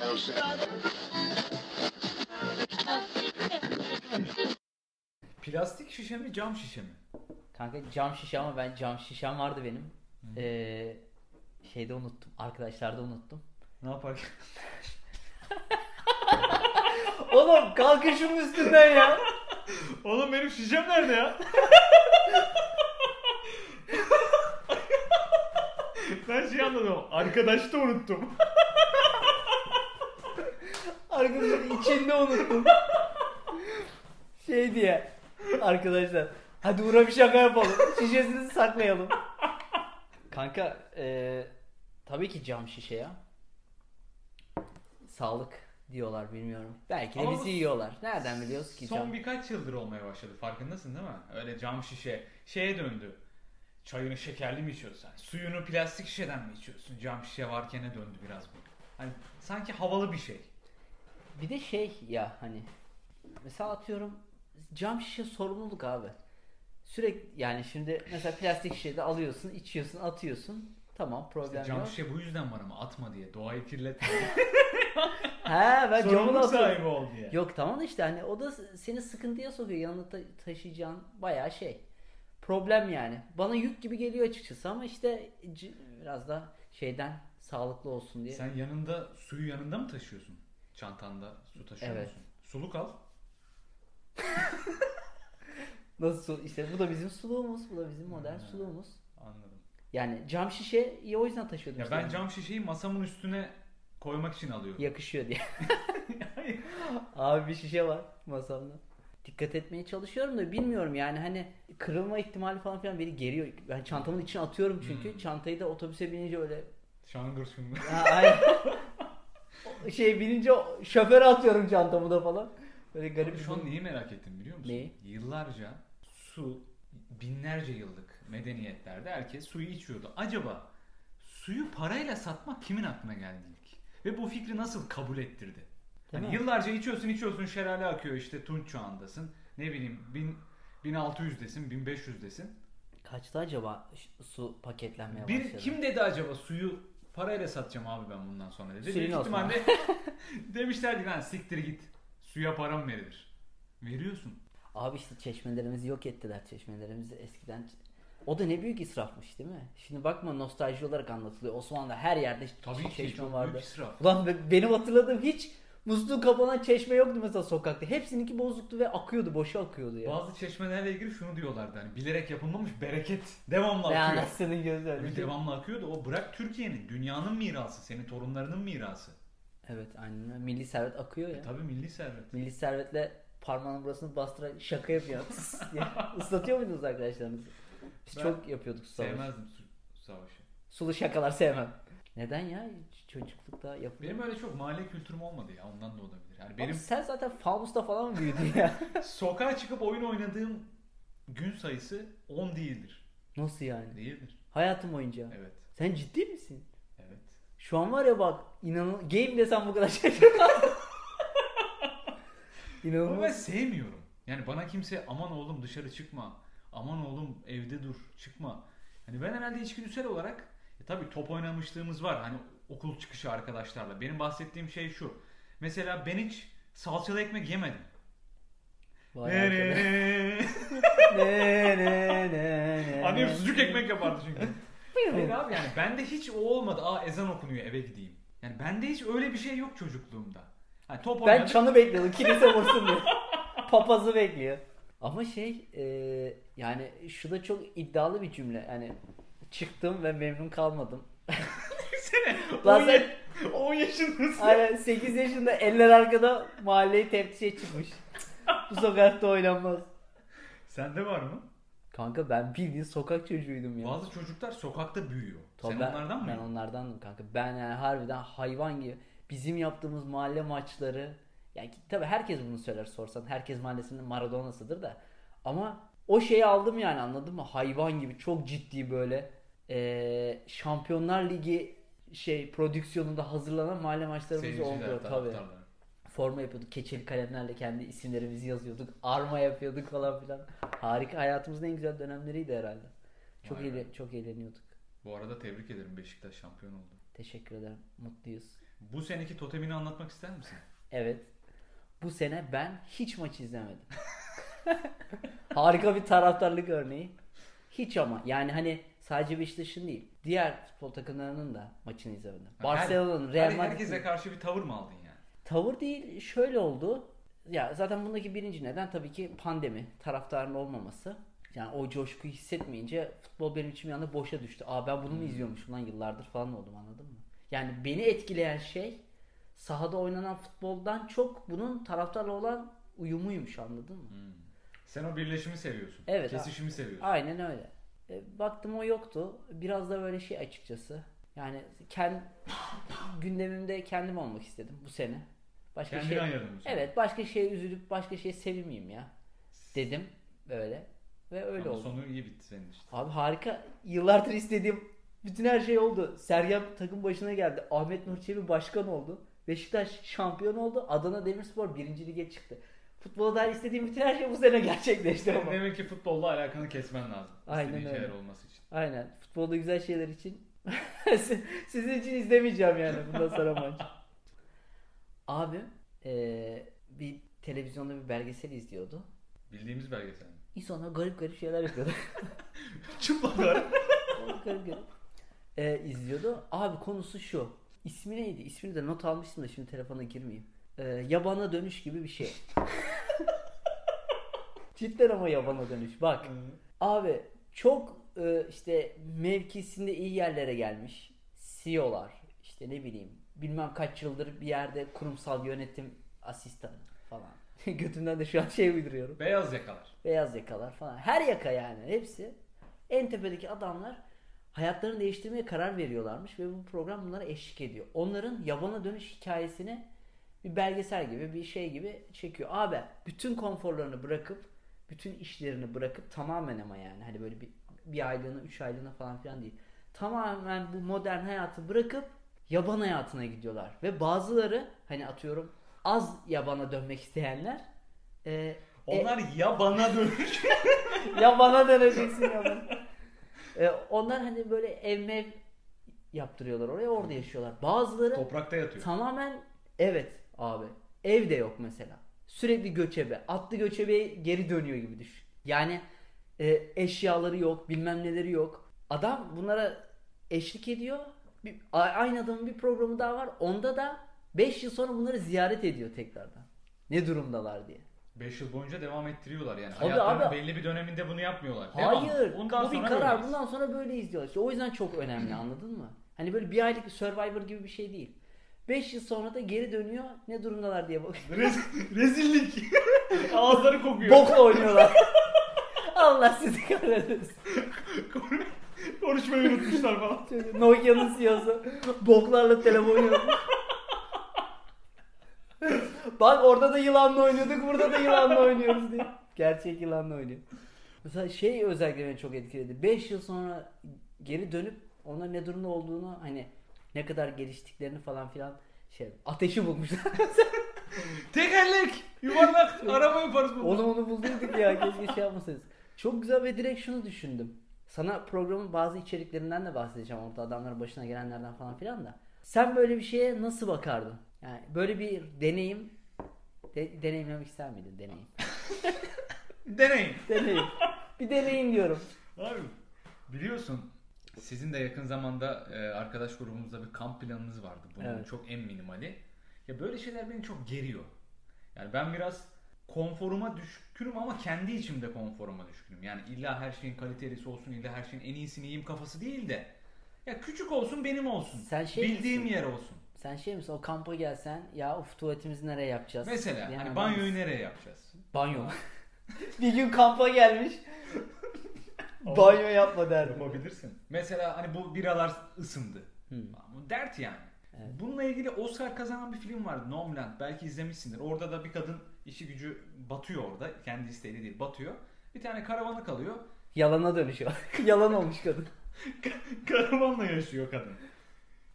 Yoksa Plastik şişe mi cam şişe mi? Kanka cam şişe ama ben cam şişem vardı benim. Ee, şeyde unuttum. Arkadaşlarda unuttum. Ne yapar? Oğlum kalkın şunun üstünden ya. Oğlum benim şişem nerede ya? ben şey anladım. Arkadaş da unuttum. Arkadaşlar içinde unuttum. Şey diye. Arkadaşlar hadi Uğur'a bir şaka yapalım. Şişesini saklayalım. Kanka e, tabii ki cam şişe ya. Sağlık diyorlar bilmiyorum. Belki de Ama bizi bu yiyorlar. Nereden biliyoruz ki Son cam? birkaç yıldır olmaya başladı. Farkındasın değil mi? Öyle cam şişe şeye döndü. Çayını şekerli mi içiyorsun sen? Suyunu plastik şişeden mi içiyorsun? Cam şişe varken'e döndü biraz bu. Hani sanki havalı bir şey. Bir de şey ya hani mesela atıyorum cam şişe sorumluluk abi. Sürekli yani şimdi mesela plastik şişede alıyorsun, içiyorsun, atıyorsun. Tamam problem cam yok. şişe bu yüzden var ama atma diye. Doğayı kirletme. He ben camını Sorumluluk atıyorum. sahibi ol diye. Yok tamam da işte hani o da s- seni sıkıntıya sokuyor. Yanında ta- taşıyacağın bayağı şey. Problem yani. Bana yük gibi geliyor açıkçası ama işte c- biraz da şeyden sağlıklı olsun diye. Sen yanında suyu yanında mı taşıyorsun? Çantanda su taşıyor Evet. musun? Suluk al. Nasıl su- işte bu da bizim suluğumuz, bu da bizim modern Hmm. suluğumuz. Anladım. Yani cam şişeyi o yüzden taşıyordum. Ya işte. ben cam şişeyi masamın üstüne koymak için alıyorum. yakışıyor diye. Abi bir şişe var masamda. Dikkat etmeye çalışıyorum da bilmiyorum yani hani kırılma ihtimali falan filan beni geriyor. Ben çantamın içine atıyorum çünkü. Hmm. Çantayı da otobüse binince öyle Şangır şungur. Ha, aynen. O şey binince şoföre atıyorum çantamı da falan. Böyle garip bir Şu an durum. neyi merak ettim biliyor musun? Neyi? Yıllarca su binlerce yıllık medeniyetlerde herkes suyu içiyordu. Acaba suyu parayla satmak kimin aklına geldi ilk? Ve bu fikri nasıl kabul ettirdi? Değil Hani mi? yıllarca içiyorsun içiyorsun şelale akıyor işte Tunç çağındasın. Ne bileyim bin, 1600'desin 1500'desin. Kaçta acaba ş- su paketlenmeye Bir başladı? kim dedi acaba suyu parayla satacağım abi ben bundan sonra dedi. Suyun Büyük olsun. ihtimalle demişler ki lan siktir git. Suya param verilir. Veriyorsun. Abi işte çeşmelerimizi yok ettiler çeşmelerimizi eskiden. O da ne büyük israfmış değil mi? Şimdi bakma nostalji olarak anlatılıyor. Osmanlı'da her yerde Tabii çe- ki çeşme çok vardı. büyük israf. Ulan be- benim hatırladığım hiç musluğu kapanan çeşme yoktu mesela sokakta. Hepsininki bozuktu ve akıyordu, boşa akıyordu ya. Bazı çeşmelerle ilgili şunu diyorlardı hani bilerek yapılmamış bereket devamlı Ve akıyor. anasının gözü öyle. Bir devamlı akıyor da o bırak Türkiye'nin, dünyanın mirası, senin torunlarının mirası. E Evet aynen. öyle. Milli servet akıyor ya. Tabii milli servet. Milli servetle parmağının burasını bastırarak şaka yapıyor. Tıs diye. Islatıyor muydunuz arkadaşlarınızı? Biz Ben çok yapıyorduk su savaşı. Sevmezdim su, savaşı. Sulu şakalar sevmem. Neden ya? Ç- Çocuklukta yapılıyor. Benim öyle çok mahalle kültürüm olmadı ya ondan da olabilir. Yani Benim... benim sen zaten fanusta falan mı büyüdün ya? sokağa çıkıp oyun oynadığım gün sayısı 10 değildir. Nasıl yani? Değildir. Hayatım boyunca. Evet. Sen ciddi misin? Evet. Şu an var ya bak inanın game desem bu kadar şaşırmaz. Ama ben İnanılmaz. sevmiyorum. Yani bana kimse aman oğlum dışarı çıkma. Aman oğlum evde dur çıkma. Hani ben herhalde içgüdüsel olarak e tabii top oynamışlığımız var. Hani okul çıkışı arkadaşlarla. Benim bahsettiğim şey şu. Mesela ben hiç salçalı ekmek yemedim. Vay Ne arkadaş. ne ne. ne ne ne ne. Annem sucuk ekmek yapardı çünkü. Hayır abi yani bende hiç o olmadı. Aa ezan okunuyor eve gideyim. Yani bende hiç öyle bir şey yok çocukluğumda. Hani top Ben oynadık. çanı bekliyordum. Kilise vursun diye. Papazı bekliyor. Ama şey e, yani şu da çok iddialı bir cümle. Yani çıktım ve memnun kalmadım. Sene Lan 10 sen- ya- 10 yaşındasın. Aynen 8 yaşında eller arkada mahalleyi tepsiye çıkmış. Bu sokakta oynanmaz. Sende var mı? Kanka ben bildiğin sokak çocuğuydum ya. Bazı çocuklar sokakta büyüyor. Tabii Sen ben, onlardan mı? Ben onlardandım kanka. Ben yani harbiden hayvan gibi. Bizim yaptığımız mahalle maçları. Yani ki- tabii herkes bunu söyler sorsan. Herkes mahallesinin Maradona'sıdır da. Ama o şeyi aldım yani anladın mı? Hayvan gibi çok ciddi böyle. eee, Şampiyonlar Ligi şey prodüksiyonunda hazırlanan mahalle maçlarımız oldu tabii. taraftarlar. Forma yapıyorduk. Keçeli kalemlerle kendi isimlerimizi yazıyorduk. Arma yapıyorduk falan filan. Harika. Hayatımızın en güzel dönemleriydi herhalde. Çok Vay be. eğle- çok eğleniyorduk. Bu arada tebrik ederim Beşiktaş şampiyon oldu. Teşekkür ederim. Mutluyuz. Bu seneki totemini anlatmak ister misin? Evet. Bu sene ben hiç maç izlemedim. Harika bir taraftarlık örneği. Hiç ama yani hani sadece Beşiktaş'ın değil. Diğer futbol takımlarının da maçını izlemedim. Barcelona'nın, Her- Real her- Herkese Madrid'in. karşı bir tavır mı aldın yani? Tavır değil şöyle oldu. Ya zaten bundaki birinci neden tabii ki pandemi. Taraftarın olmaması. Yani o coşkuyu hissetmeyince futbol benim için bir anda boşa düştü. Aa ben bunu mu izliyormuşum lan yıllardır falan oldum anladın mı? Yani beni etkileyen şey sahada oynanan futboldan çok bunun taraftarla olan uyumuymuş anladın mı? Sen o birleşimi seviyorsun. Evet, Kesişimi seviyorsun. Aynen öyle. E, baktım o yoktu. Biraz da böyle şey açıkçası. Yani kendi gündemimde kendim olmak istedim bu sene. Başka Kendini şey ayırdın bu sene. Evet, başka şeye üzülüp başka şeye sevinmeyeyim ya dedim böyle ve öyle Ama oldu. sonu iyi bitti senin işte. Abi harika. Yıllardır istediğim bütün her şey oldu. Sergen takım başına geldi. Ahmet Nur Çebi başkan oldu. Beşiktaş şampiyon oldu. Adana Demirspor birinci lige çıktı. Futbola dair istediğim bütün her şey bu sene gerçekleşti ama. Demek ki futbolla alakanı kesmen lazım. Aynen İstediğin öyle. şeyler olması için. Aynen. Futbolda güzel şeyler için sizin için izlemeyeceğim yani bundan sonra maç. Abim eee, bir televizyonda bir belgesel izliyordu. Bildiğimiz belgesel. İnsanlar garip garip şeyler yapıyordu. Çıplaklar. garip garip. Ee, izliyordu. Abi konusu şu. İsmi neydi? İsmini de not almıştım da şimdi telefona girmeyeyim. Ee, yabana dönüş gibi bir şey. Cidden ama yabana dönüş. Bak. Abi çok e, işte mevkisinde iyi yerlere gelmiş. CEO'lar işte ne bileyim bilmem kaç yıldır bir yerde kurumsal yönetim asistanı falan. Götümden de şu an şey uyduruyorum. Beyaz yakalar. Beyaz yakalar falan. Her yaka yani hepsi. En tepedeki adamlar hayatlarını değiştirmeye karar veriyorlarmış ve bu program bunlara eşlik ediyor. Onların yabana dönüş hikayesini bir belgesel gibi bir şey gibi çekiyor. Abi bütün konforlarını bırakıp bütün işlerini bırakıp tamamen ama yani hani böyle bir, bir aylığına üç aylığına falan filan değil. Tamamen bu modern hayatı bırakıp yaban hayatına gidiyorlar. Ve bazıları hani atıyorum az yabana dönmek isteyenler e, e, Onlar ya bana dönüş. ya bana döneceksin ya bana. Ee, onlar hani böyle ev mev yaptırıyorlar oraya orada yaşıyorlar. Bazıları Toprakta yatıyor. tamamen evet abi ev de yok mesela. Sürekli göçebe. Atlı göçebe geri dönüyor gibi düşün. Yani e, eşyaları yok bilmem neleri yok. Adam bunlara eşlik ediyor. Bir, a- aynı adamın bir programı daha var. Onda da 5 yıl sonra bunları ziyaret ediyor tekrardan. Ne durumdalar diye. 5 yıl boyunca devam ettiriyorlar yani. Tabii Hayatlarının abi. belli bir döneminde bunu yapmıyorlar. Devam. Hayır. Bundan bu bir sonra karar. böyleyiz. Bundan sonra böyle izliyorlar. İşte o yüzden çok önemli anladın mı? Hani böyle bir aylık bir Survivor gibi bir şey değil. 5 yıl sonra da geri dönüyor. Ne durumdalar diye bak. Rez- rezillik. Ağızları kokuyor. Bokla oynuyorlar. Allah sizi kahretsin. Konuşmayı unutmuşlar falan. Nokia'nın CEO'su boklarla telefon yapıyor. Bak orada da yılanla oynuyorduk, burada da yılanla oynuyoruz diye. Gerçek yılanla oynuyor. Mesela şey özellikle beni çok etkiledi. 5 yıl sonra geri dönüp ona ne durumda olduğunu hani ne kadar geliştiklerini falan filan şey ateşi bulmuşlar. Tekerlek. Yuvarlak. Araba yaparız bunu. onu onu bulduyduk ya keşke şey yapmasaydınız. Çok güzel ve direkt şunu düşündüm. Sana programın bazı içeriklerinden de bahsedeceğim orada adamların başına gelenlerden falan filan da. Sen böyle bir şeye nasıl bakardın? Yani böyle bir deneyim de- deneyimlemek ister miydin deneyim? Deneyin. deneyim. Bir deneyim diyorum. Abi biliyorsun sizin de yakın zamanda e, arkadaş grubumuzda bir kamp planınız vardı. Bunun Evet. çok en minimali. Ya böyle şeyler beni çok geriyor. Yani ben biraz konforuma düşkünüm ama kendi içimde konforuma düşkünüm. Yani illa her şeyin kalitelisi olsun, illa her şeyin en iyisini yiyeyim kafası değil de. Ya küçük olsun benim olsun. Sen şey Bildiğim misin? yer olsun. Sen şey misin o kampa gelsen ya of tuvaletimizi nereye yapacağız? Mesela diyen hani adam banyoyu mısın? nereye yapacağız? Banyo. bir gün kampa gelmiş. banyo yapma derdim. Yapabilirsin. Mesela hani bu biralar ısındı. Ama Dert yani. Bununla ilgili Oscar kazanan bir film vardı Nomland. Belki izlemişsindir. Orada da bir kadın işi gücü batıyor orada. Kendi isteğiyle değil batıyor. Bir tane karavanı kalıyor. Yalana dönüşüyor. Yalan olmuş kadın. Karavanla yaşıyor kadın.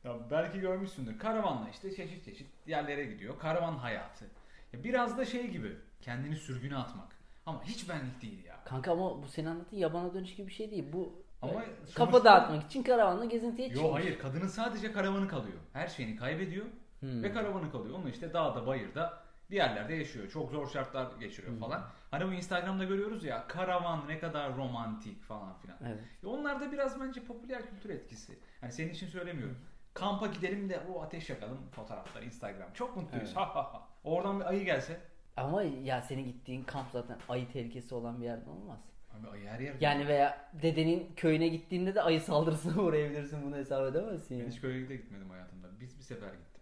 Ya belki görmüşsündür. Karavanla işte çeşit çeşit yerlere gidiyor. Karavan hayatı. Ya biraz da şey gibi. Kendini sürgüne atmak. Ama hiç benlik değil ya. Kanka ama bu senin anlattığın yabana dönüş gibi bir şey değil. Bu Ama böyle sonuçta- kafa dağıtmak için karavanla gezintiye çıkmış. Yo hayır kadının sadece karavanı kalıyor. Her şeyini kaybediyor. Hmm. Ve karavanı kalıyor. Onun işte dağda bayırda bir yerlerde yaşıyor. Çok zor şartlar geçiriyor Hmm. falan. Hani bu Instagram'da görüyoruz ya karavan ne kadar romantik falan filan. Evet. E Onlar da biraz bence popüler kültür etkisi. Hani senin için söylemiyorum. Kampa gidelim de o ateş yakalım fotoğraflar Instagram. Çok mutluyuz. Evet. Ha ha ha. Oradan bir ayı gelse. Ama ya senin gittiğin kamp zaten ayı tehlikesi olan bir yerde olmaz. Abi ayı her yerde. Yani veya dedenin köyüne gittiğinde de ayı saldırısına uğrayabilirsin bunu hesap edemezsin Ben yani. hiç köye de gitmedim hayatımda. Biz bir sefer gittim.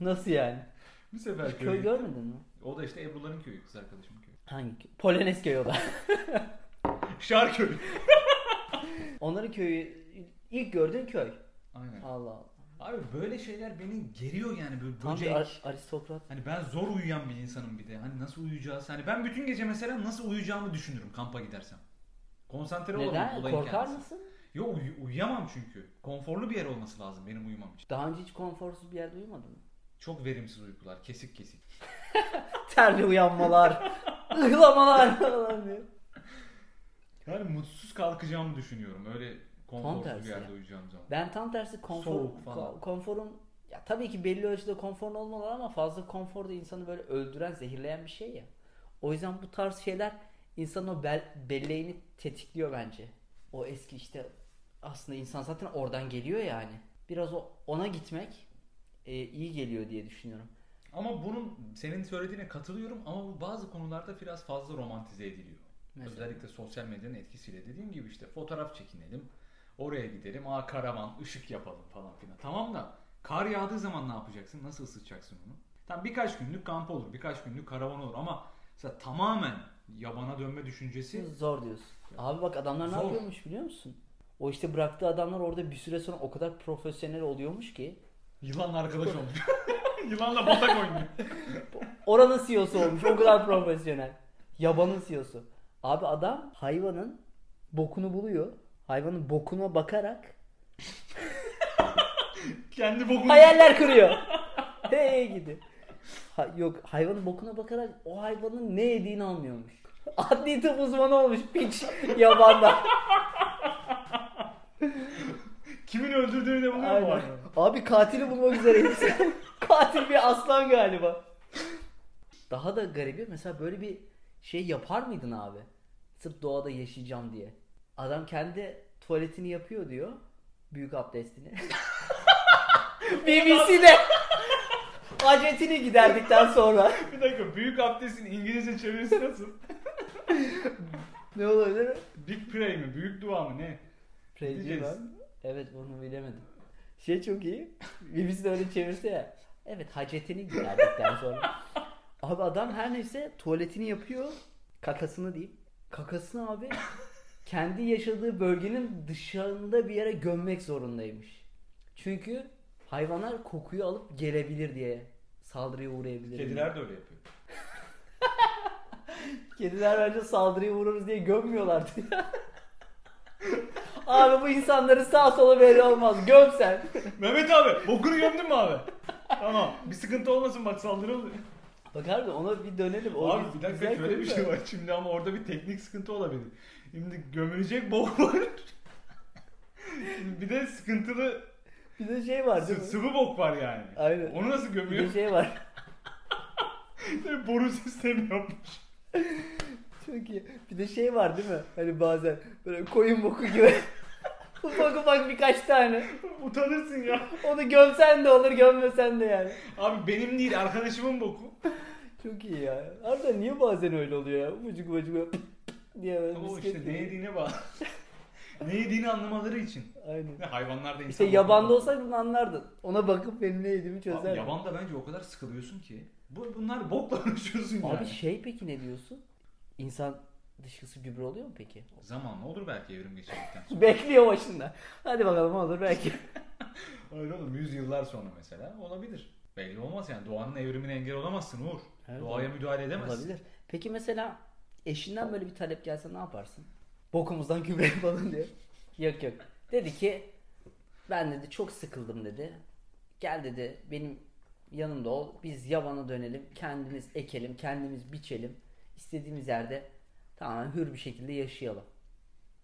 Nasıl yani? Bir sefer köye Köy gittim. görmedin mi? O da işte Ebru'ların köyü. Kız arkadaşımın köyü. Hangi köy? Polonez köyü o da. Şarköy. Onların köyü ilk gördüğün köy. Aynen. Allah Allah. Abi böyle şeyler beni geriyor yani böyle Tam bir böcek. ar- aristokrat. Hani ben zor uyuyan bir insanım bir de. Hani nasıl uyuyacağız? Hani ben bütün gece mesela nasıl uyuyacağımı düşünürüm kampa gidersem. Konsantre olamam Neden? olayın Korkar kendisi. mısın? Yok uy- uyuyamam çünkü. Konforlu bir yer olması lazım benim uyumam için. Daha önce hiç konforsuz bir yerde uyumadın mı? Çok verimsiz uykular, kesik kesik. Terli uyanmalar, ıhlamalar falan diyor. Yani mutsuz kalkacağımı düşünüyorum. Öyle konforsuz tersi bir yerde ya. uyuyacağım zaman. Ben tam tersi konfor, Soğuk falan. ko- konforun ya tabii ki belli ölçüde konforun olmalı ama fazla konfor da insanı böyle öldüren, zehirleyen bir şey ya. O yüzden bu tarz şeyler insanın o bel- belleğini tetikliyor bence. O eski işte aslında insan zaten oradan geliyor yani. Biraz o ona gitmek e, iyi geliyor diye düşünüyorum. Ama bunun senin söylediğine katılıyorum ama bu bazı konularda biraz fazla romantize ediliyor. Mesela? Özellikle sosyal medyanın etkisiyle dediğim gibi işte fotoğraf çekinelim, oraya gidelim, aa karavan, ışık yapalım falan filan. Tamam da kar yağdığı zaman ne yapacaksın? Nasıl ısıtacaksın onu? Tam birkaç günlük kamp olur, birkaç günlük karavan olur ama mesela tamamen yabana dönme düşüncesi Zor diyorsun. Abi bak adamlar ne Zor. yapıyormuş biliyor musun? O işte bıraktığı adamlar orada bir süre sonra o kadar profesyonel oluyormuş ki yılanla arkadaş olmuş. Yılanla batak oynuyor. Oranın CEO'su olmuş. O kadar profesyonel. Yabanın CEO'su. Abi adam hayvanın bokunu buluyor. Hayvanın bokuna bakarak Kendi bokunu. hayaller kuruyor. Hey gidi. Ha- yok hayvanın bokuna bakarak o hayvanın ne yediğini anlıyormuş. Adli tıp uzmanı olmuş piç yabanda. Kimin öldürdüğünü de buluyor mu? Aynen. Abi katili bulmak üzereyiz. Katil bir aslan galiba. Daha da garibi mesela böyle bir şey yapar mıydın abi? Sırf doğada yaşayacağım diye. Adam kendi tuvaletini yapıyor diyor. Büyük abdestini. BBC'de acetini giderdikten sonra Bir dakika büyük abdestin İngilizce çevirisi nasıl? ne olabilir? Big Prey mi? Büyük dua mı? Ne? Prezi Diyeceğiz. var. Evet bunu bilemedim. Şey çok iyi. BBC de öyle çevirse ya. Evet hacetini giderdikten sonra. Abi adam her neyse tuvaletini yapıyor. Kakasını diyeyim. Kakasını abi kendi yaşadığı bölgenin dışında bir yere gömmek zorundaymış. Çünkü hayvanlar kokuyu alıp gelebilir diye saldırıya uğrayabilir. Kediler de öyle yapıyor. Kediler bence saldırıya uğrarız diye gömmüyorlardı. Abi bu insanları sağ sola belli olmaz. Göm sen. Mehmet abi bokunu gömdün mü abi? tamam bir sıkıntı olmasın bak saldırı oluyor. Bak harbi ona bir dönelim. O abi bir dakika güzel şöyle bir konu da. şey var şimdi ama orada bir teknik sıkıntı olabilir. Şimdi gömülecek bok var. Şimdi bir de sıkıntılı Bir de şey var değil sı- mi? sıvı bok var yani. Aynen. Onu nasıl Bir gömüyor? de şey var. Tabii Boru sistemi yapmış. Çok iyi. Bir de şey var değil mi? Hani bazen böyle koyun boku gibi. ufak ufak birkaç tane. Utanırsın ya. Onu gömsen de olur gömmesen de yani. Abi benim değil arkadaşımın boku. Çok iyi ya. Harbiden niye bazen öyle oluyor ya? Ufacık ufacık böyle diye böyle O bisiklet işte ne gibi. yediğine bağlı. ne yediğini anlamaları için. Aynen. Ne Hayvanlar da insan. İşte yabanda olsaydı bunu anlardın. Ona bakıp benim ne yediğimi Abi çözerdin. Abi, Yabanda bence o kadar sıkılıyorsun ki. Bu, bunlar bokla konuşuyorsun yani. şey peki ne diyorsun? İnsan dışkısı gübre oluyor mu peki? Zamanla olur belki evrim geçirdikten sonra. Bekliyor başında. Hadi bakalım olur belki. Öyle olur. Yüz yıllar sonra mesela olabilir. Belli olmaz yani. Doğanın evrimine engel olamazsın Uğur. Evet, Doğaya müdahale edemezsin. Olabilir. Peki mesela eşinden böyle bir talep gelse ne yaparsın? Bokumuzdan gübre yapalım diye. yok yok. Dedi ki ben dedi çok sıkıldım dedi. Gel dedi benim yanımda ol. Biz yabana dönelim. Kendimiz ekelim. Kendimiz biçelim. İstediğimiz yerde tamamen hür bir şekilde yaşayalım.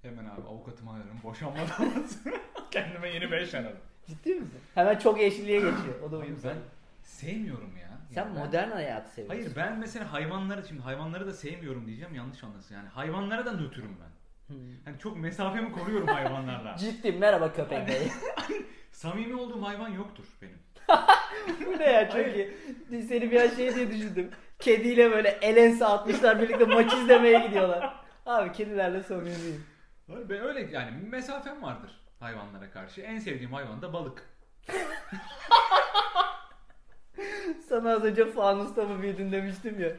Hemen abi avukatımı ararım. Boşanma davası. Kendime yeni beş ararım. Ciddi misin? Hemen çok yeşilliğe geçiyor. O da Abi uyum ben sağlıyor. sevmiyorum ya. Sen Yani ben- modern hayatı seviyorsun. Hayır ben mesela hayvanları şimdi hayvanları da sevmiyorum diyeceğim yanlış anlasın. Yani hayvanlara da nötrüm ben. Hmm. Hani çok mesafemi koruyorum hayvanlarla. Ciddi merhaba köpek bey. Samimi olduğum hayvan yoktur benim. Bu ne ya çok iyi. Dün Seni bir an şey diye düşündüm. Kediyle böyle el ense atmışlar birlikte maç izlemeye gidiyorlar. Abi kedilerle samimiyim. Öyle, ben öyle yani mesafem vardır hayvanlara karşı. En sevdiğim hayvan da balık. Sana az önce fanusta mı büyüdün demiştim ya.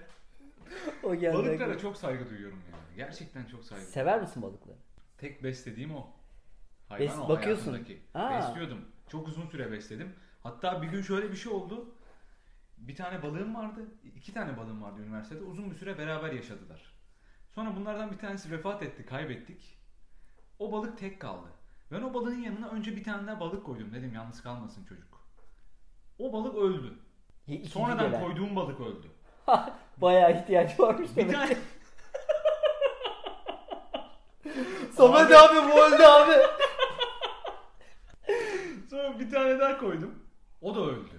O geldi. Balıklara aklıma. çok saygı duyuyorum yani. Gerçekten çok saygı. Sever misin balıkları? Tek beslediğim o. Hayvan Bes- o bakıyorsun. hayatımdaki. Aa. Besliyordum. Çok uzun süre besledim. Hatta bir gün şöyle bir şey oldu. Bir tane balığım vardı. iki tane balığım vardı üniversitede. Uzun bir süre beraber yaşadılar. Sonra bunlardan bir tanesi vefat etti. Kaybettik. O balık tek kaldı. Ben o balığın yanına önce bir tane daha balık koydum. Dedim yalnız kalmasın çocuk. O balık öldü. Ye- ikinci Sonradan gelen. koyduğum balık öldü. Bayağı ihtiyaç varmış Bir demek. tane Samet abi, abi bu öldü abi. Sonra bir tane daha koydum. O da öldü.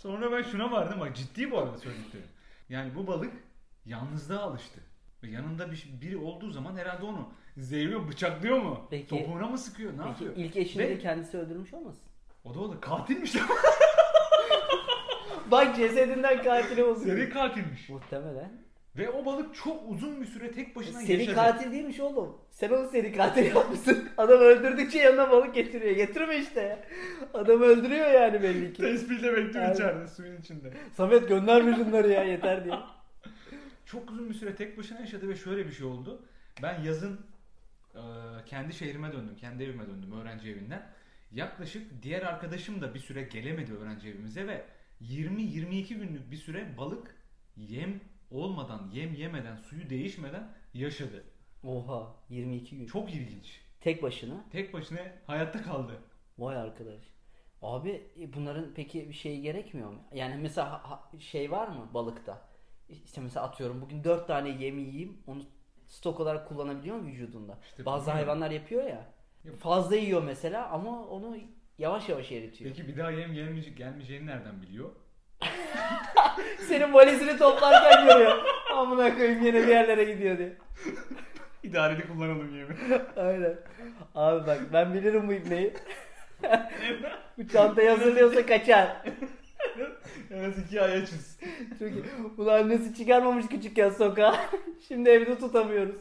Sonra ben şuna vardım bak ciddi bu arada söylediklerim. Yani bu balık yalnızlığa alıştı. Ve yanında bir, biri olduğu zaman herhalde onu zehirliyor, bıçaklıyor mu? Peki- Topuğuna mı sıkıyor? Ne Peki yapıyor? ilk eşini Ve- de kendisi öldürmüş olmasın? O da o da katilmiş lan. Bak cesedinden katil olsun. Seri katilmiş. Muhtemelen. Ve o balık çok uzun bir süre tek başına Seri yaşadı. katil değilmiş oğlum. Sen onu seri katil yapmışsın. Adam öldürdükçe yanına balık getiriyor. Getirme işte ya. Adam öldürüyor yani belli ki. Tespihle bekliyor Aynen. içeride suyun içinde. Samet gönderme şunları ya yeter diye. Çok uzun bir süre tek başına yaşadı ve şöyle bir şey oldu. Ben yazın e, kendi şehrime döndüm, kendi evime döndüm öğrenci evinden. Yaklaşık diğer arkadaşım da bir süre gelemedi öğrenci evimize ve 20-22 günlük bir süre balık yem olmadan, yem yemeden, suyu değişmeden yaşadı. Oha 22 gün. Çok ilginç. Tek başına. Tek başına hayatta kaldı. Vay arkadaş. Abi e, bunların peki bir şey gerekmiyor mu? Yani mesela ha- ha- şey var mı balıkta? İşte mesela atıyorum bugün 4 tane yemi yiyeyim onu stok olarak kullanabiliyor mu vücudunda? İşte Bazı bilmiyorum. hayvanlar yapıyor ya. Yap- Fazla yiyor mesela ama onu yavaş yavaş eritiyor. Peki bir daha yem gelmeyecek, gelmeyeceğini nereden biliyor? Senin valizini toplarken görüyor. Amına koyayım yine bir yerlere gidiyor diye. İdareli kullanalım yemi. Aynen. Abi bak ben bilirim bu ibneyi. bu çantayı hazırlıyorsa kaçar. en az iki ay açız. Çünkü bunu annesi çıkarmamış küçükken sokağa. Şimdi evde tutamıyoruz.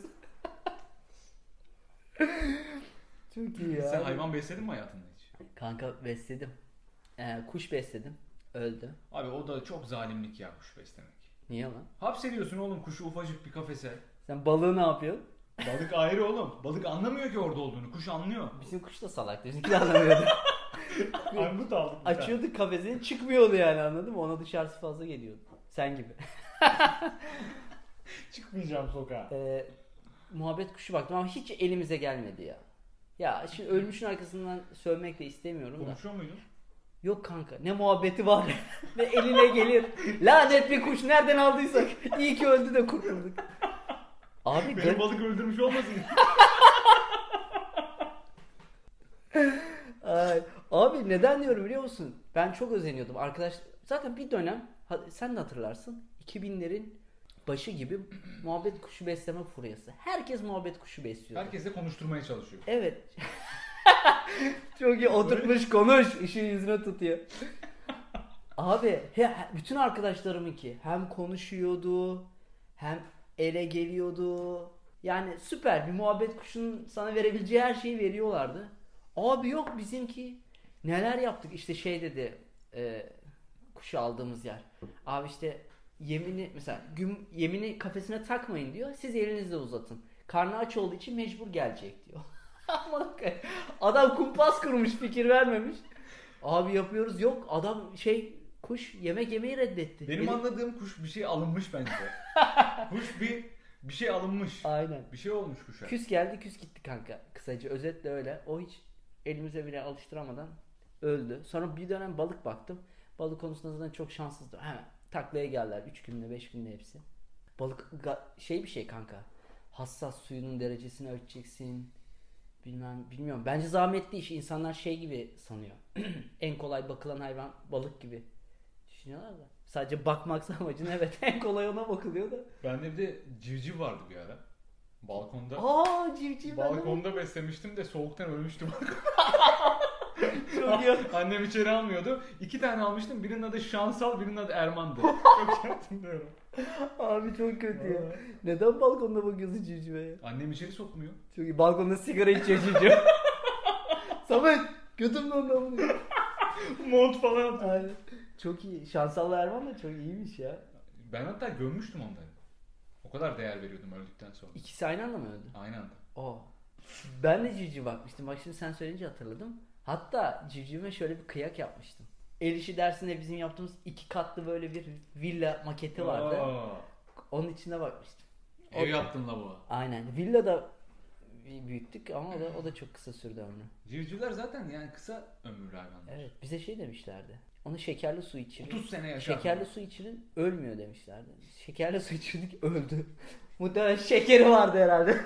Çok iyi ya. Sen hayvan besledin mi hayatında hiç? Kanka besledim. Ee, kuş besledim. Öldü. Abi o da çok zalimlik ya kuş beslemek. Niye lan? Hapsediyorsun oğlum kuşu ufacık bir kafese. Sen balığı ne yapıyorsun? Balık ayrı oğlum. Balık anlamıyor ki orada olduğunu. Kuş anlıyor. Bizim kuş da salaktı. Bizimki de anlamıyordu. Armut aldık. bir tane. Açıyorduk kafesini çıkmıyordu yani anladın mı? Ona dışarısı fazla geliyordu. Sen gibi. Çıkmayacağım sokağa. Ee, muhabbet kuşu baktım ama hiç elimize gelmedi ya. Ya şimdi ölmüşün arkasından sövmek de istemiyorum da. Konuşuyor muydun? Yok kanka ne muhabbeti var ve eline gelir. Lanet bir kuş nereden aldıysak. İyi ki öldü de kurtulduk. Abi Benim garip, balık öldürmüş olmasın. Ay, abi neden diyorum biliyor musun? Ben çok özeniyordum arkadaş. Zaten bir dönem ha- sen de hatırlarsın 2000'lerin başı gibi muhabbet kuşu besleme furyası. Herkes muhabbet kuşu besliyor. Herkes de konuşturmaya çalışıyor. Evet. Çok iyi oturmuş konuş. işi yüzüne tutuyor. Abi he, he- bütün arkadaşlarımın ki hem konuşuyordu hem ele geliyordu. Yani süper bir muhabbet kuşunun sana verebileceği her şeyi veriyorlardı. Abi yok bizimki neler yaptık işte şey dedi e, kuşu aldığımız yer. Abi işte yemini mesela güm, yemini kafesine takmayın diyor. Siz elinizle uzatın. Karnı aç olduğu için mecbur gelecek diyor. Aman koyayım. adam kumpas kurmuş fikir vermemiş. Abi yapıyoruz yok adam şey kuş yemek yemeyi reddetti. Benim Dedi- anladığım kuş bir şey alınmış bence. kuş bir bir şey alınmış. Aynen. Bir şey olmuş kuşa. Küs geldi küs gitti kanka. Kısaca özetle öyle. O hiç elimize bile alıştıramadan öldü. Sonra bir dönem balık baktım. Balık konusunda zaten çok şanssızdı. Hemen taklaya geldiler. 3 günde 5 günde hepsi. Balık ga- şey bir şey kanka. Hassas suyunun derecesini ölçeceksin. Bilmem, bilmiyorum. Bence zahmetli iş. İnsanlar şey gibi sanıyor. en kolay bakılan hayvan balık gibi düşünüyorlar da. Sadece bakmaksa amacın evet en kolay ona bakılıyor da. Bende bir de civciv vardı bir ara. Balkonda. Aa civciv ben de- balkonda beslemiştim de soğuktan ölmüştüm. Çok iyi. Ah, Annem içeri almıyordu. İki tane almıştım. Birinin adı Şansal, birinin adı Erman'dı. Çok iyi hatırlıyorum. Abi çok kötü ya. Neden balkonda bakıyorsun civcive ya? Annem içeri sokmuyor. Çok iyi. Balkonda sigara içiyor civciv. Samet götümden de bunu. Mont falan atıyor. Aynen. Çok iyi. Şansallı Erman da çok iyiymiş ya. Ben hatta gömmüştüm onları. O kadar değer veriyordum öldükten sonra. İkisi aynı anda mı öldü? Aynı anda. O. Ben de civciv bakmıştım. Bak şimdi sen söyleyince hatırladım. Hatta civcivime şöyle bir kıyak yapmıştım. El işi dersinde bizim yaptığımız iki katlı böyle bir villa maketi vardı. Aa, Onun içine bakmıştım. ev O- yaptın la bu. Aynen. Villada büyüttük ama o da, o da çok kısa sürdü ömrü. Civcivler zaten yani kısa ömürlü hayvanlar. Evet. Bize şey demişlerdi. Onu şekerli su içirin. 30 sene yaşar. Şekerli su içirin ölmüyor demişlerdi. Şekerli su içirdik öldü. Muhtemelen şekeri vardı herhalde.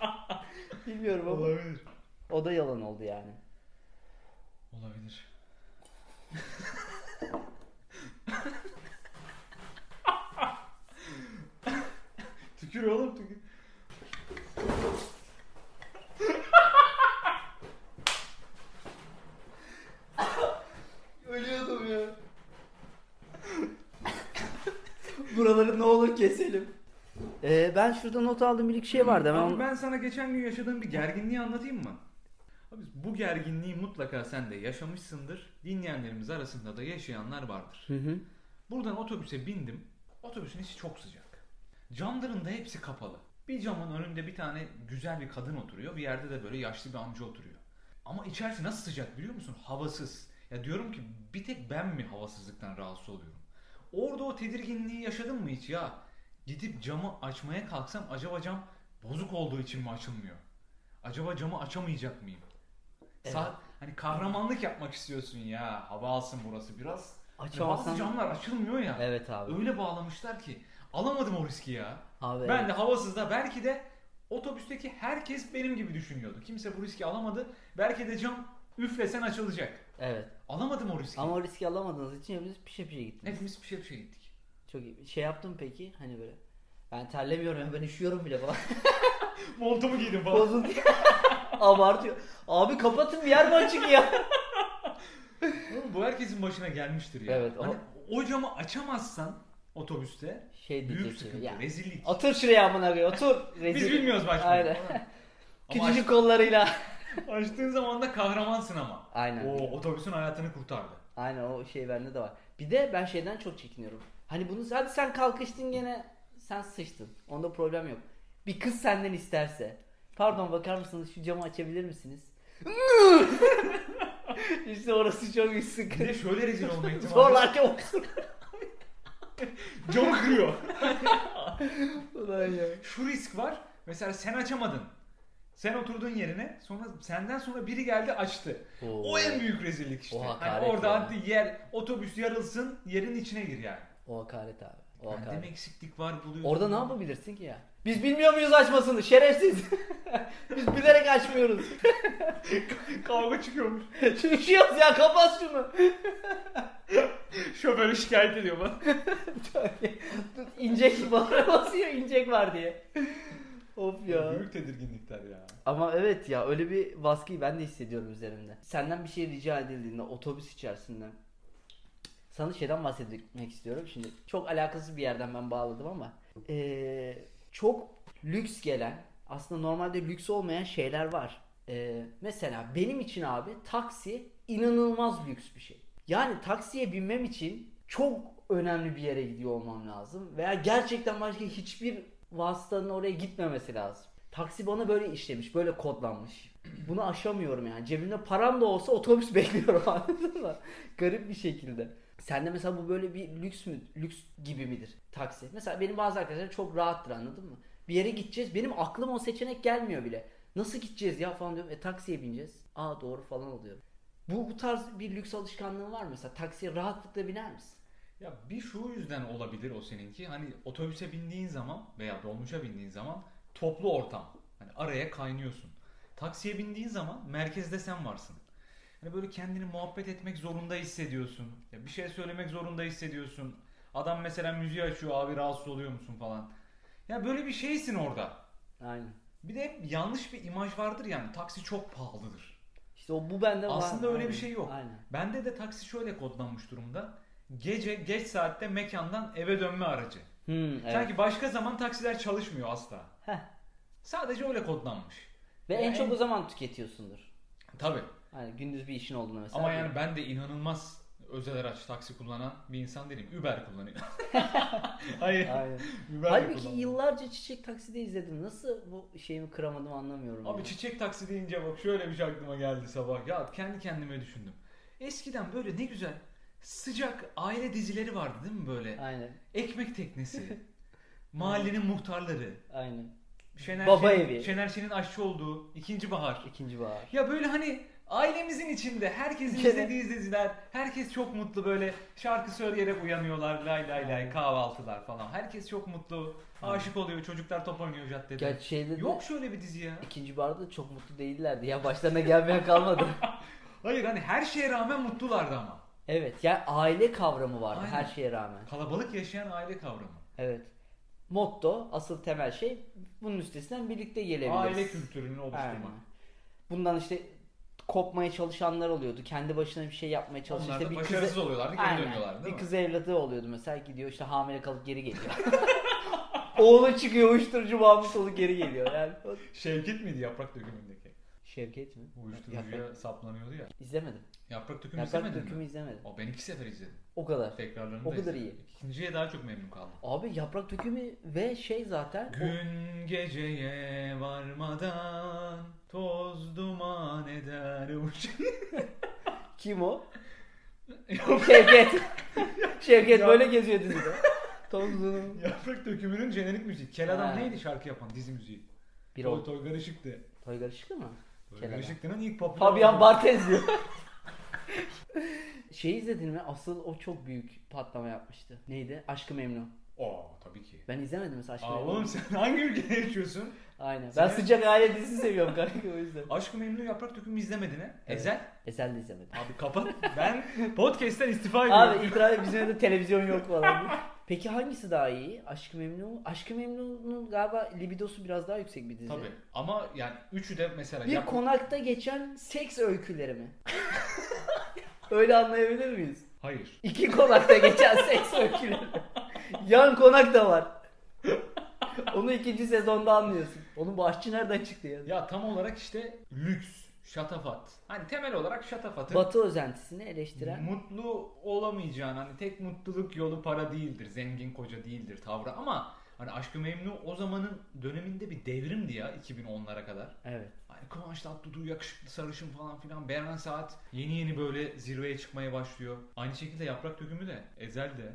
Bilmiyorum ama. Olabilir. O da yalan oldu yani. Olabilir. tükür oğlum tükür. Ölüyordum ya. Buraları ne olur keselim. Ee, ben şurada not aldım bir iki şey vardı. Abi Hemen Ben, onu- sana geçen gün yaşadığım bir gerginliği anlatayım mı? Abi bu gerginliği mutlaka sen de yaşamışsındır. Dinleyenlerimiz arasında da yaşayanlar vardır. Hı hı. Buradan otobüse bindim. Otobüsün içi çok sıcak. Camların da hepsi kapalı. Bir camın önünde bir tane güzel bir kadın oturuyor. Bir yerde de böyle yaşlı bir amca oturuyor. Ama içerisi nasıl sıcak biliyor musun? Havasız. Ya diyorum ki bir tek ben mi havasızlıktan rahatsız oluyorum? Orada o tedirginliği yaşadın mı hiç ya? Gidip camı açmaya kalksam acaba cam bozuk olduğu için mi açılmıyor? Acaba camı açamayacak mıyım? Evet. Saat, hani kahramanlık yapmak istiyorsun ya. Hava alsın burası biraz. Açamazsan- Bazı camlar açılmıyor ya. Evet abi. Öyle bağlamışlar ki alamadım o riski ya. Abi Ben de havasızda belki de otobüsteki herkes benim gibi düşünüyordu. Kimse bu riski alamadı. Belki de cam üflesen açılacak. evet. Alamadım o riski. Ama o riski alamadığınız için hepiniz pişe pişe gittiniz. Hepimiz bir şey bir şey gittik. Çok iyi. Şey yaptım peki hani böyle. Ben terlemiyorum ya, ben üşüyorum bile falan. Montumu giydim falan. Bozun diye. Abartıyor. Abi kapatın bir yer mi açık ya? Oğlum bu herkesin başına gelmiştir ya. Evet, o- Hani o camı açamazsan otobüste Şey büyük diyeceksin. sıkıntı, Ya. rezillik. Otur şuraya amına koyayım otur. Biz Rezil. bilmiyoruz başka. şey. Aynen. Ama aç- Küçücük kollarıyla. açtığın zaman da kahramansın ama. Aynen. O otobüsün hayatını kurtardı. Aynen o şey bende de var. Bir de ben şeyden çok çekiniyorum. Hani bunu hadi sen kalkıştın gene sen sıçtın. Onda problem yok. Bir kız senden isterse. Pardon bakar mısınız şu camı açabilir misiniz? işte orası çok bir Bir de sıkıntı. şöyle rezil olma ihtimali. Zorlarken olsun. Camı kırıyor. Ulan ya. Şu risk var. Mesela sen açamadın. Sen oturduğun yerine sonra senden sonra biri geldi açtı. O en büyük rezillik işte. O hani hakaret orada yani. hadi yer otobüs yarılsın yerin içine gir yani. O hakaret abi. O Bende mi hakaret. eksiklik var buluyorsun. Orada ne yapabilirsin ki ya? Biz bilmiyor muyuz açmasını şerefsiz. Biz bilerek açmıyoruz. Kavga çıkıyormuş. Üşüyoruz ya kapat şunu. Şoförü şikayet ediyor bana. incek bağıra basıyor incek var diye. of ya. Büyük tedirginlikler ya. Ama evet ya öyle bir baskıyı ben de hissediyorum üzerimde. Senden bir şey rica edildiğinde otobüs içerisinde sana şeyden bahsetmek istiyorum. Şimdi çok alakasız bir yerden ben bağladım ama ee, çok lüks gelen aslında normalde lüks olmayan şeyler var. Ee, mesela benim için abi taksi inanılmaz lüks bir şey. Yani taksiye binmem için çok önemli bir yere gidiyor olmam lazım veya gerçekten başka hiçbir vasıtanın oraya gitmemesi lazım. Taksi bana böyle işlemiş, böyle kodlanmış. Bunu aşamıyorum yani. Cebimde param da olsa otobüs bekliyorum anladın mı? Garip bir şekilde. Sende mesela bu böyle bir lüks mü, lüks gibi midir taksi? Mesela benim bazı arkadaşlarım çok rahattır anladın mı? Bir yere gideceğiz. Benim aklım o seçenek gelmiyor bile. Nasıl gideceğiz ya falan diyorum. E taksiye bineceğiz. Aa doğru falan oluyorum. Bu, bu tarz bir lüks alışkanlığın var mı mesela? Taksiye rahatlıkla biner misin? Ya bir şu yüzden olabilir o seninki. Hani otobüse bindiğin zaman veya dolmuşa bindiğin zaman toplu ortam. Hani araya kaynıyorsun. Taksiye bindiğin zaman merkezde sen varsın. Hani böyle kendini muhabbet etmek zorunda hissediyorsun. Ya bir şey söylemek zorunda hissediyorsun. Adam mesela müziği açıyor abi rahatsız oluyor musun falan. Ya böyle bir şeysin orada. Aynen. Bir de hep yanlış bir imaj vardır yani taksi çok pahalıdır. İşte o bu bende var. Aslında öyle Aynen. bir şey yok. Aynen. Bende de taksi şöyle kodlanmış durumda. Gece geç saatte mekandan eve dönme aracı. Hmm, evet. Sanki başka zaman taksiler çalışmıyor asla. Heh. Sadece öyle kodlanmış. Ve en Yani- çok o zaman tüketiyorsundur. Tabii. Hani gündüz bir işin olduğunda mesela. Ama yani ben de inanılmaz özel araç taksi kullanan bir insan değilim. Uber kullanıyorum. Hayır. Aynen. Uber de Halbuki kullanmıyorum. yıllarca Çiçek Taksi'de izledim. Nasıl bu şeyimi kıramadım anlamıyorum. Abi ya. çiçek taksi deyince bak şöyle bir şey aklıma geldi sabah. Ya kendi kendime düşündüm. Eskiden böyle ne güzel sıcak aile dizileri vardı değil mi böyle? Aynen. Ekmek teknesi, mahallenin muhtarları, Aynen. Şener, Baba Şen- evi. Şener Şen'in aşçı olduğu ikinci bahar. İkinci bahar. Ya böyle hani ailemizin içinde herkesin Gene. izlediği diziler, herkes çok mutlu böyle şarkı söyleyerek uyanıyorlar, lay lay lay Aynen. kahvaltılar falan. Herkes çok mutlu, Aynen. aşık oluyor, çocuklar top oynuyor caddede. Gerçi şeyde de Yok şöyle bir dizi ya. ikinci baharda da çok mutlu değillerdi. Ya başlarına gelmeye kalmadı. Hayır hani her şeye rağmen mutlulardı ama. evet. Yani aile kavramı vardı Aynen. her şeye rağmen. Kalabalık yaşayan aile kavramı. Evet. Motto, asıl temel şey bunun üstesinden birlikte gelebiliriz. Aile kültürünü oluşturmak. Aynen. Bundan işte kopmaya çalışanlar oluyordu. Kendi başına bir şey yapmaya çalışıyor. Onlar İşte da bir başarısız kızı- oluyorlardı, geri Aynen. dönüyorlardı değil Bir mi? kız evladı oluyordu mesela gidiyor işte hamile kalıp geri geliyor. Oğlu çıkıyor uyuşturucu bağımlısı olup geri geliyor. Yani Şevket miydi yaprak dökümündeki? Şevket mi? Uyuşturucuya Yaprak- saplanıyordu ya. İzlemedim. Yaprak dökümü Yaprak izlemedin dökümü mi? izlemedim. O ben iki sefer izledim. O kadar. Tekrarlarını O da kadar izledim. İkinciye daha çok memnun kaldım. Abi yaprak dökümü ve şey zaten o- Gün geceye varmadan toz duman eder uç. kim o? Şevket. Şevket Ya. böyle geziyor dizide. Tozlu. Yaprak dökümünün jenerik müziği. Kel adam Ha. neydi şarkı yapan dizi müziği? Bir Toy- o. Toygar Işık'tı. Toygar Işıklı mı? Kel Toygar adam. Işık'tının ilk popüler Fabian olduğu- Barthez diyor. şey izledin mi? Asıl o çok büyük patlama yapmıştı. Neydi? Aşkı Memnun. Oo tabii ki. Ben izlemedim mesela Aşkı Aa, Memnun. oğlum sen hangi ülkede yaşıyorsun? Aynen. Ben Sen- sıcak aile dizisi seviyorum kanka o yüzden. Aşk-ı Memnu yaprak dökümü izlemedin he? Ezel. Ezel de izlemedim. Abi kapat. Ben podcast'ten istifa ediyorum. Abi itiraf et, bizim evde televizyon yok falan. Peki hangisi daha iyi? Aşkı Memnun. Aşkı Memnun'un galiba libidosu biraz daha yüksek bir dizi. Tabii. Ama yani üçü de mesela Bir yap- konakta geçen seks öyküleri mi? Öyle anlayabilir miyiz? Hayır. İki konakta geçen seks öyküleri. Yan konak da var. Onu ikinci sezonda anlıyorsun. Onun bu aşçı nereden çıktı ya? Ya tam olarak işte lüks, şatafat. Hani temel olarak şatafatı Batı özentisini eleştiren. mutlu olamayacağın hani tek mutluluk yolu para değildir. Zengin koca değildir tavrı ama hani Aşk-ı Memnu o zamanın döneminde bir devrimdi ya 2010'lara kadar. Evet. Hani Kıvanç Tatlıtuğ yakışıklı sarışın falan filan. Beren Saat yeni yeni böyle zirveye çıkmaya başlıyor. Aynı şekilde Yaprak Dökümü de, Ezel de,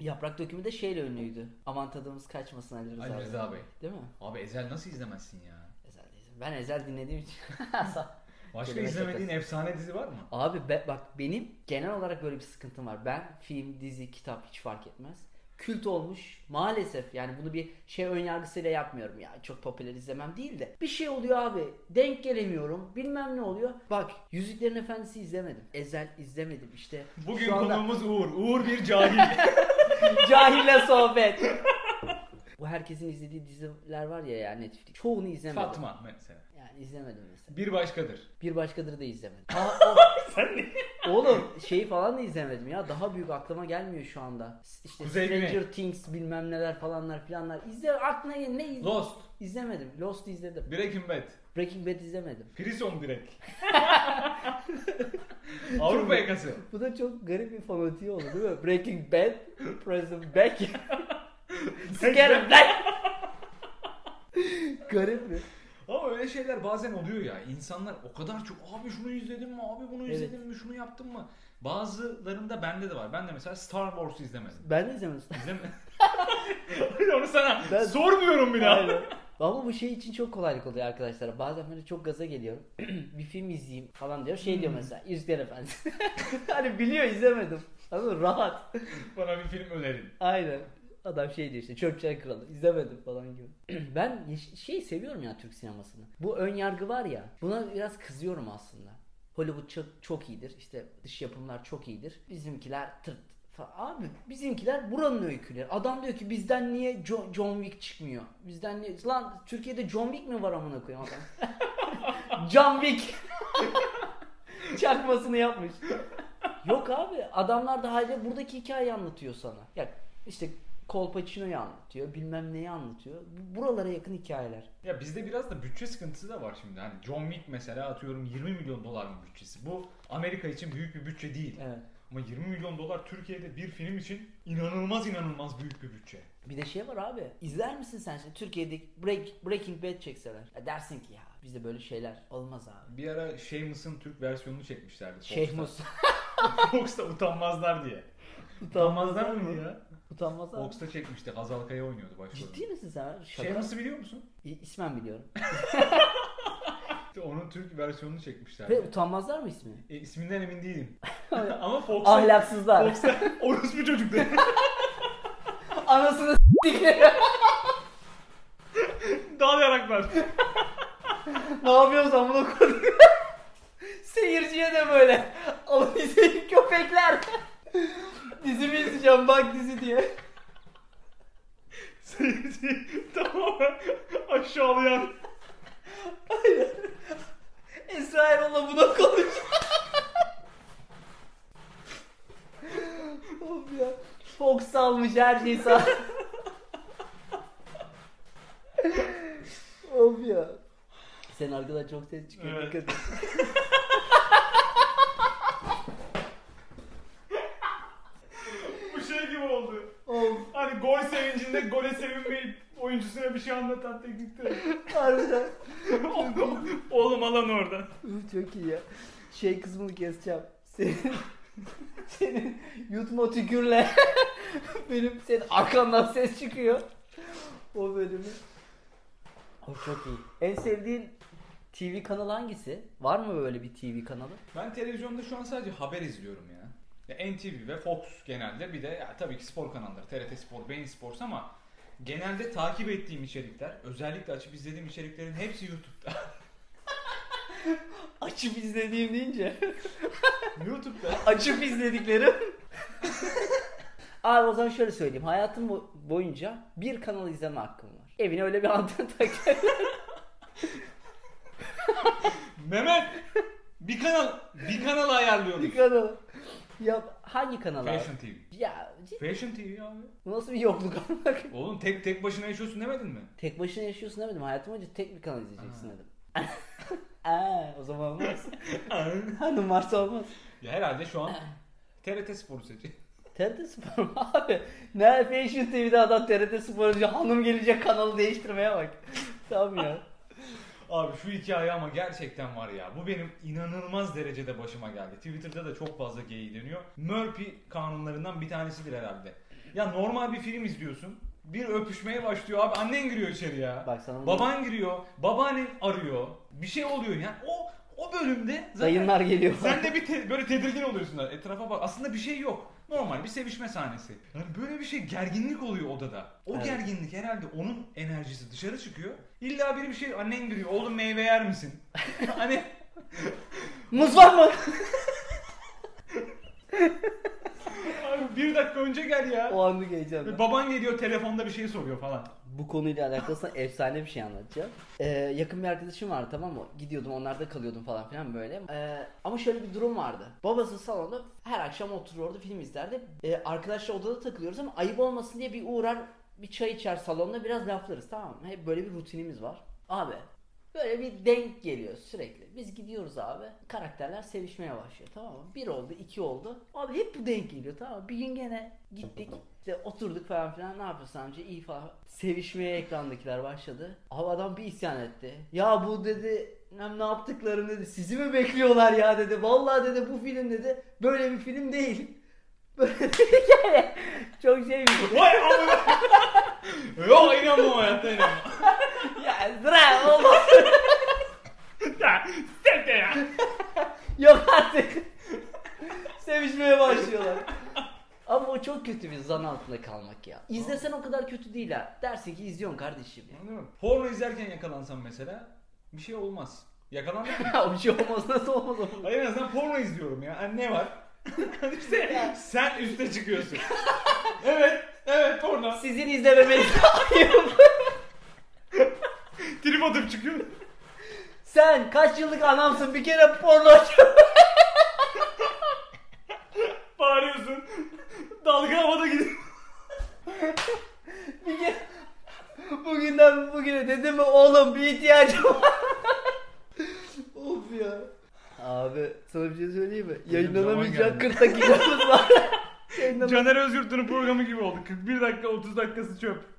Yaprak dökümü de şeyle ünlüydü. Aman tadımız kaçmasın Ali Rıza, Ali Rıza Bey. Değil mi? Abi Ezel nasıl izlemezsin ya? Ezel de izledim. Ben Ezel dinlediğim için. Başka Kelime izlemediğin efsane dizi var mı? Abi be- bak benim genel olarak böyle bir sıkıntım var. Ben film, dizi, kitap hiç fark etmez. Kült olmuş maalesef yani bunu bir şey önyargısıyla yapmıyorum ya çok popüler izlemem değil de bir şey oluyor abi denk gelemiyorum bilmem ne oluyor bak Yüzüklerin Efendisi izlemedim Ezel izlemedim işte Bugün şu anda konuğumuz Uğur. Uğur bir cahil. cahille sohbet bu herkesin izlediği diziler var ya ya Netflix çoğunu izlemedim Fatma mesela. yani izlemedim mesela Bir başkadır. Bir başkadır da izlemedim. Aa, o- Oğlum şeyi falan da izlemedim ya. Daha büyük aklıma gelmiyor şu anda. S- İşte Kuzey Güney. Stranger Things bilmem neler falanlar filanlar. İzle aklına gel- ne iz- Lost. izlemedim. Lost izledim. Breaking Bad. Breaking Bad izlemedim. Prison Break. Avrupa yakası. Bu da çok garip bir fanatiği oldu değil mi? Breaking Bad, Prison Break, Scared Black. garip mi? Ama öyle şeyler bazen oluyor ya. İnsanlar o kadar çok abi şunu izledin mi? Abi bunu Evet. izledin mi? Şunu yaptın mı? Bazılarında bende de var. Ben de mesela Star Wars'u izlemedim. Ben de izlemedim. İzleme. Hayır, Onu sana Ben- sormuyorum bile. Aynen. Ama bu şey için çok kolaylık oluyor arkadaşlar. Bazen böyle çok gaza geliyorum. bir film izleyeyim falan diyor. Şey diyor mesela Yüzükler Efendisi. hani biliyor izlemedim. Ama rahat. Bana bir film önerin. Aynen. Adam şey diyor işte çöpçen kralı izlemedim falan gibi. ben yeş- şey seviyorum ya Türk sinemasını. Bu ön yargı var ya buna biraz kızıyorum aslında. Hollywood çok, çok iyidir. işte dış yapımlar çok iyidir. Bizimkiler tırt. falan. Abi bizimkiler buranın öyküleri. Adam diyor ki bizden niye Jo- John Wick çıkmıyor? Bizden niye? Lan Türkiye'de John Wick mi var amına koyayım adam? John Wick. Çakmasını yapmış. Yok abi adamlar da hala buradaki hikayeyi anlatıyor sana. Ya işte Kolpaçino'yu anlatıyor, bilmem neyi anlatıyor. Bu- Buralara yakın hikayeler. Ya bizde biraz da bütçe sıkıntısı da var şimdi. Hani John Wick mesela atıyorum 20 milyon dolar mı bütçesi? Bu Amerika için büyük bir bütçe değil. Evet. Ama 20 milyon dolar Türkiye'de bir film için inanılmaz inanılmaz büyük bir bütçe. Bir de şey var abi. İzler misin sen şimdi Türkiye'deki Break, Breaking Bad çekseler? Ya dersin ki ya bizde böyle şeyler olmaz abi. Bir ara Shameless'ın Türk versiyonunu çekmişlerdi. Fox'ta. Şeyh Mus. Fox'ta utanmazlar diye. Utanmazlar mıydı ya? Utanmazlar mı? Fox'ta çekmişti. Hazal Kaya oynuyordu başrolünü. Ciddi misin sen? Şaka. Shameless'ı biliyor musun? İ- İsmen biliyorum. İşte onun Türk versiyonunu çekmişlerdi. Ve utanmazlar mı ismi? E, isminden emin değilim. Ama Fox'ta... Ahlaksızlar. Fox'ta orospu çocuktu. Anasını s**tik. Dağlayaraklar. Ne yapıyoruz amına koyayım? Seyirciye de böyle. Alın izleyin köpekler. Dizimi izleyeceğim bak dizi diye. Seyirci tamamen aşağılayan. Esra Erol'la buna konuş. of ya. Fox almış her şeyi sağ. of ya. Sen arkadan çok ses çıkıyor. Evet. Dikkat et. Bu şey gibi oldu. Of. Hani gol sevincinde gole sevinmeyip oyuncusuna bir şey anlatan teknik direktör. Harbiden. Oğlum alan orada. Üf, Çok iyi ya. Şey kısmını keseceğim. Senin, senin yutma tükürle benim senin arkandan ses çıkıyor. O bölümü. O çok iyi. En sevdiğin TV kanalı hangisi? Var mı böyle bir TV kanalı? Ben televizyonda şu an sadece haber izliyorum ya. ya NTV ve Fox genelde bir de ya tabii ki spor kanalları. TRT Spor, Bein Sports ama genelde takip ettiğim içerikler, özellikle açıp izlediğim içeriklerin hepsi YouTube'da. Açıp izlediğim deyince. YouTube'da. Açıp izlediklerim. Abi o zaman şöyle söyleyeyim. Hayatım bo- boyunca bir kanal izleme hakkım var. Evine öyle bir anten tak. Mehmet bir kanal bir kanal ayarlıyorum. bir kanal. Ya hangi kanal abi? Fashion TV. Ya ciddi- Fashion TV abi. bu nasıl bir yokluk anlak? Oğlum tek tek başına yaşıyorsun demedin mi? Tek başına yaşıyorsun demedim. Hayatım boyunca tek bir kanal izleyeceksin Ha. dedim. Aa, o zaman olmaz. Hanım varsa olmaz. ya herhalde şu an TRT Spor'u seçin. TRT Spor mu abi? Ne Fashion TV'de adam TRT Spor diyor. Hanım gelecek kanalı değiştirmeye bak. tamam ya. Abi şu hikaye ama gerçekten var ya. Bu benim inanılmaz derecede başıma geldi. Twitter'da da çok fazla geyiği dönüyor. Murphy kanunlarından bir tanesidir herhalde. Ya normal bir film izliyorsun. Bir öpüşmeye başlıyor abi. Annen giriyor içeri ya. Bak sana bunu- Baban giriyor. Babaannen arıyor. Bir şey oluyor yani. O o bölümde zaten Dayınlar geliyor. Sen de bir te- böyle tedirgin oluyorsun da etrafa bak. Aslında bir şey yok. Normal bir sevişme sahnesi. Yani böyle bir şey gerginlik oluyor odada. O Evet. gerginlik herhalde onun enerjisi dışarı çıkıyor. İlla biri bir şey annen giriyor. Oğlum meyve yer misin? hani Muz var mı? abi bir dakika önce gel ya. o anı geleceğim. ben. Baban geliyor telefonda bir şey soruyor falan. Bu konuyla alakalı sana efsane bir şey anlatacağım. Ee, yakın bir arkadaşım vardı tamam mı? Gidiyordum onlarda kalıyordum falan filan böyle. Ee, ama şöyle bir durum vardı. Babası salonda her akşam otururdu film izlerdi. Ee, arkadaşlar odada takılıyoruz ama ayıp olmasın diye bir uğrar bir çay içer salonda biraz laflarız tamam mı? Hep böyle bir rutinimiz var. Abi böyle bir denk geliyor sürekli. Biz gidiyoruz abi. Karakterler sevişmeye başlıyor tamam mı? Bir oldu iki oldu. Abi hep bu denk geliyor tamam mı? Bir gün gene gittik. İşte oturduk falan filan ne yapıyorsun amca iyi falan. Sevişmeye ekrandakiler başladı. Abi adam bir isyan etti. Ya bu dedi "nem ne yaptıklarını dedi sizi mi bekliyorlar ya dedi. Vallahi dedi bu film dedi böyle bir film değil. Böyle yani çok şey bir şey. Vay amına. Yok inanmam hayatta inanmam. Ya bırak oğlum. Ya, sen de ya. Yok artık. Sevişmeye başlıyorlar. Ama o o çok kötü bir zan altında kalmak ya. İzlesen o kadar kötü değil ha. Dersin ki izliyorsun kardeşim. Anladın mı? Porno izlerken yakalansan mesela bir şey olmaz. Yakalandın mı? Ya bir şey olmaz nasıl olmaz oğlum? Hayır en azından porno izliyorum ya. Ha, ne var? işte sen üste çıkıyorsun. evet. Evet porno. Sizin izlememeniz Trip atıp çıkıyor. Sen kaç yıllık anamsın bir kere porno aç- Bağırıyorsun. Dalga havada gidiyor. bir kere... Bugünden bugüne dedim mi oğlum bir ihtiyacım var. of ya. Abi sana bir şey söyleyeyim mi? zaman Yayınlanamayacak geldi. 40 dakikamız var. Yayınlanam- Caner Özgürt'ün programı gibi oldu. 41 dakika 30 dakikası çöp.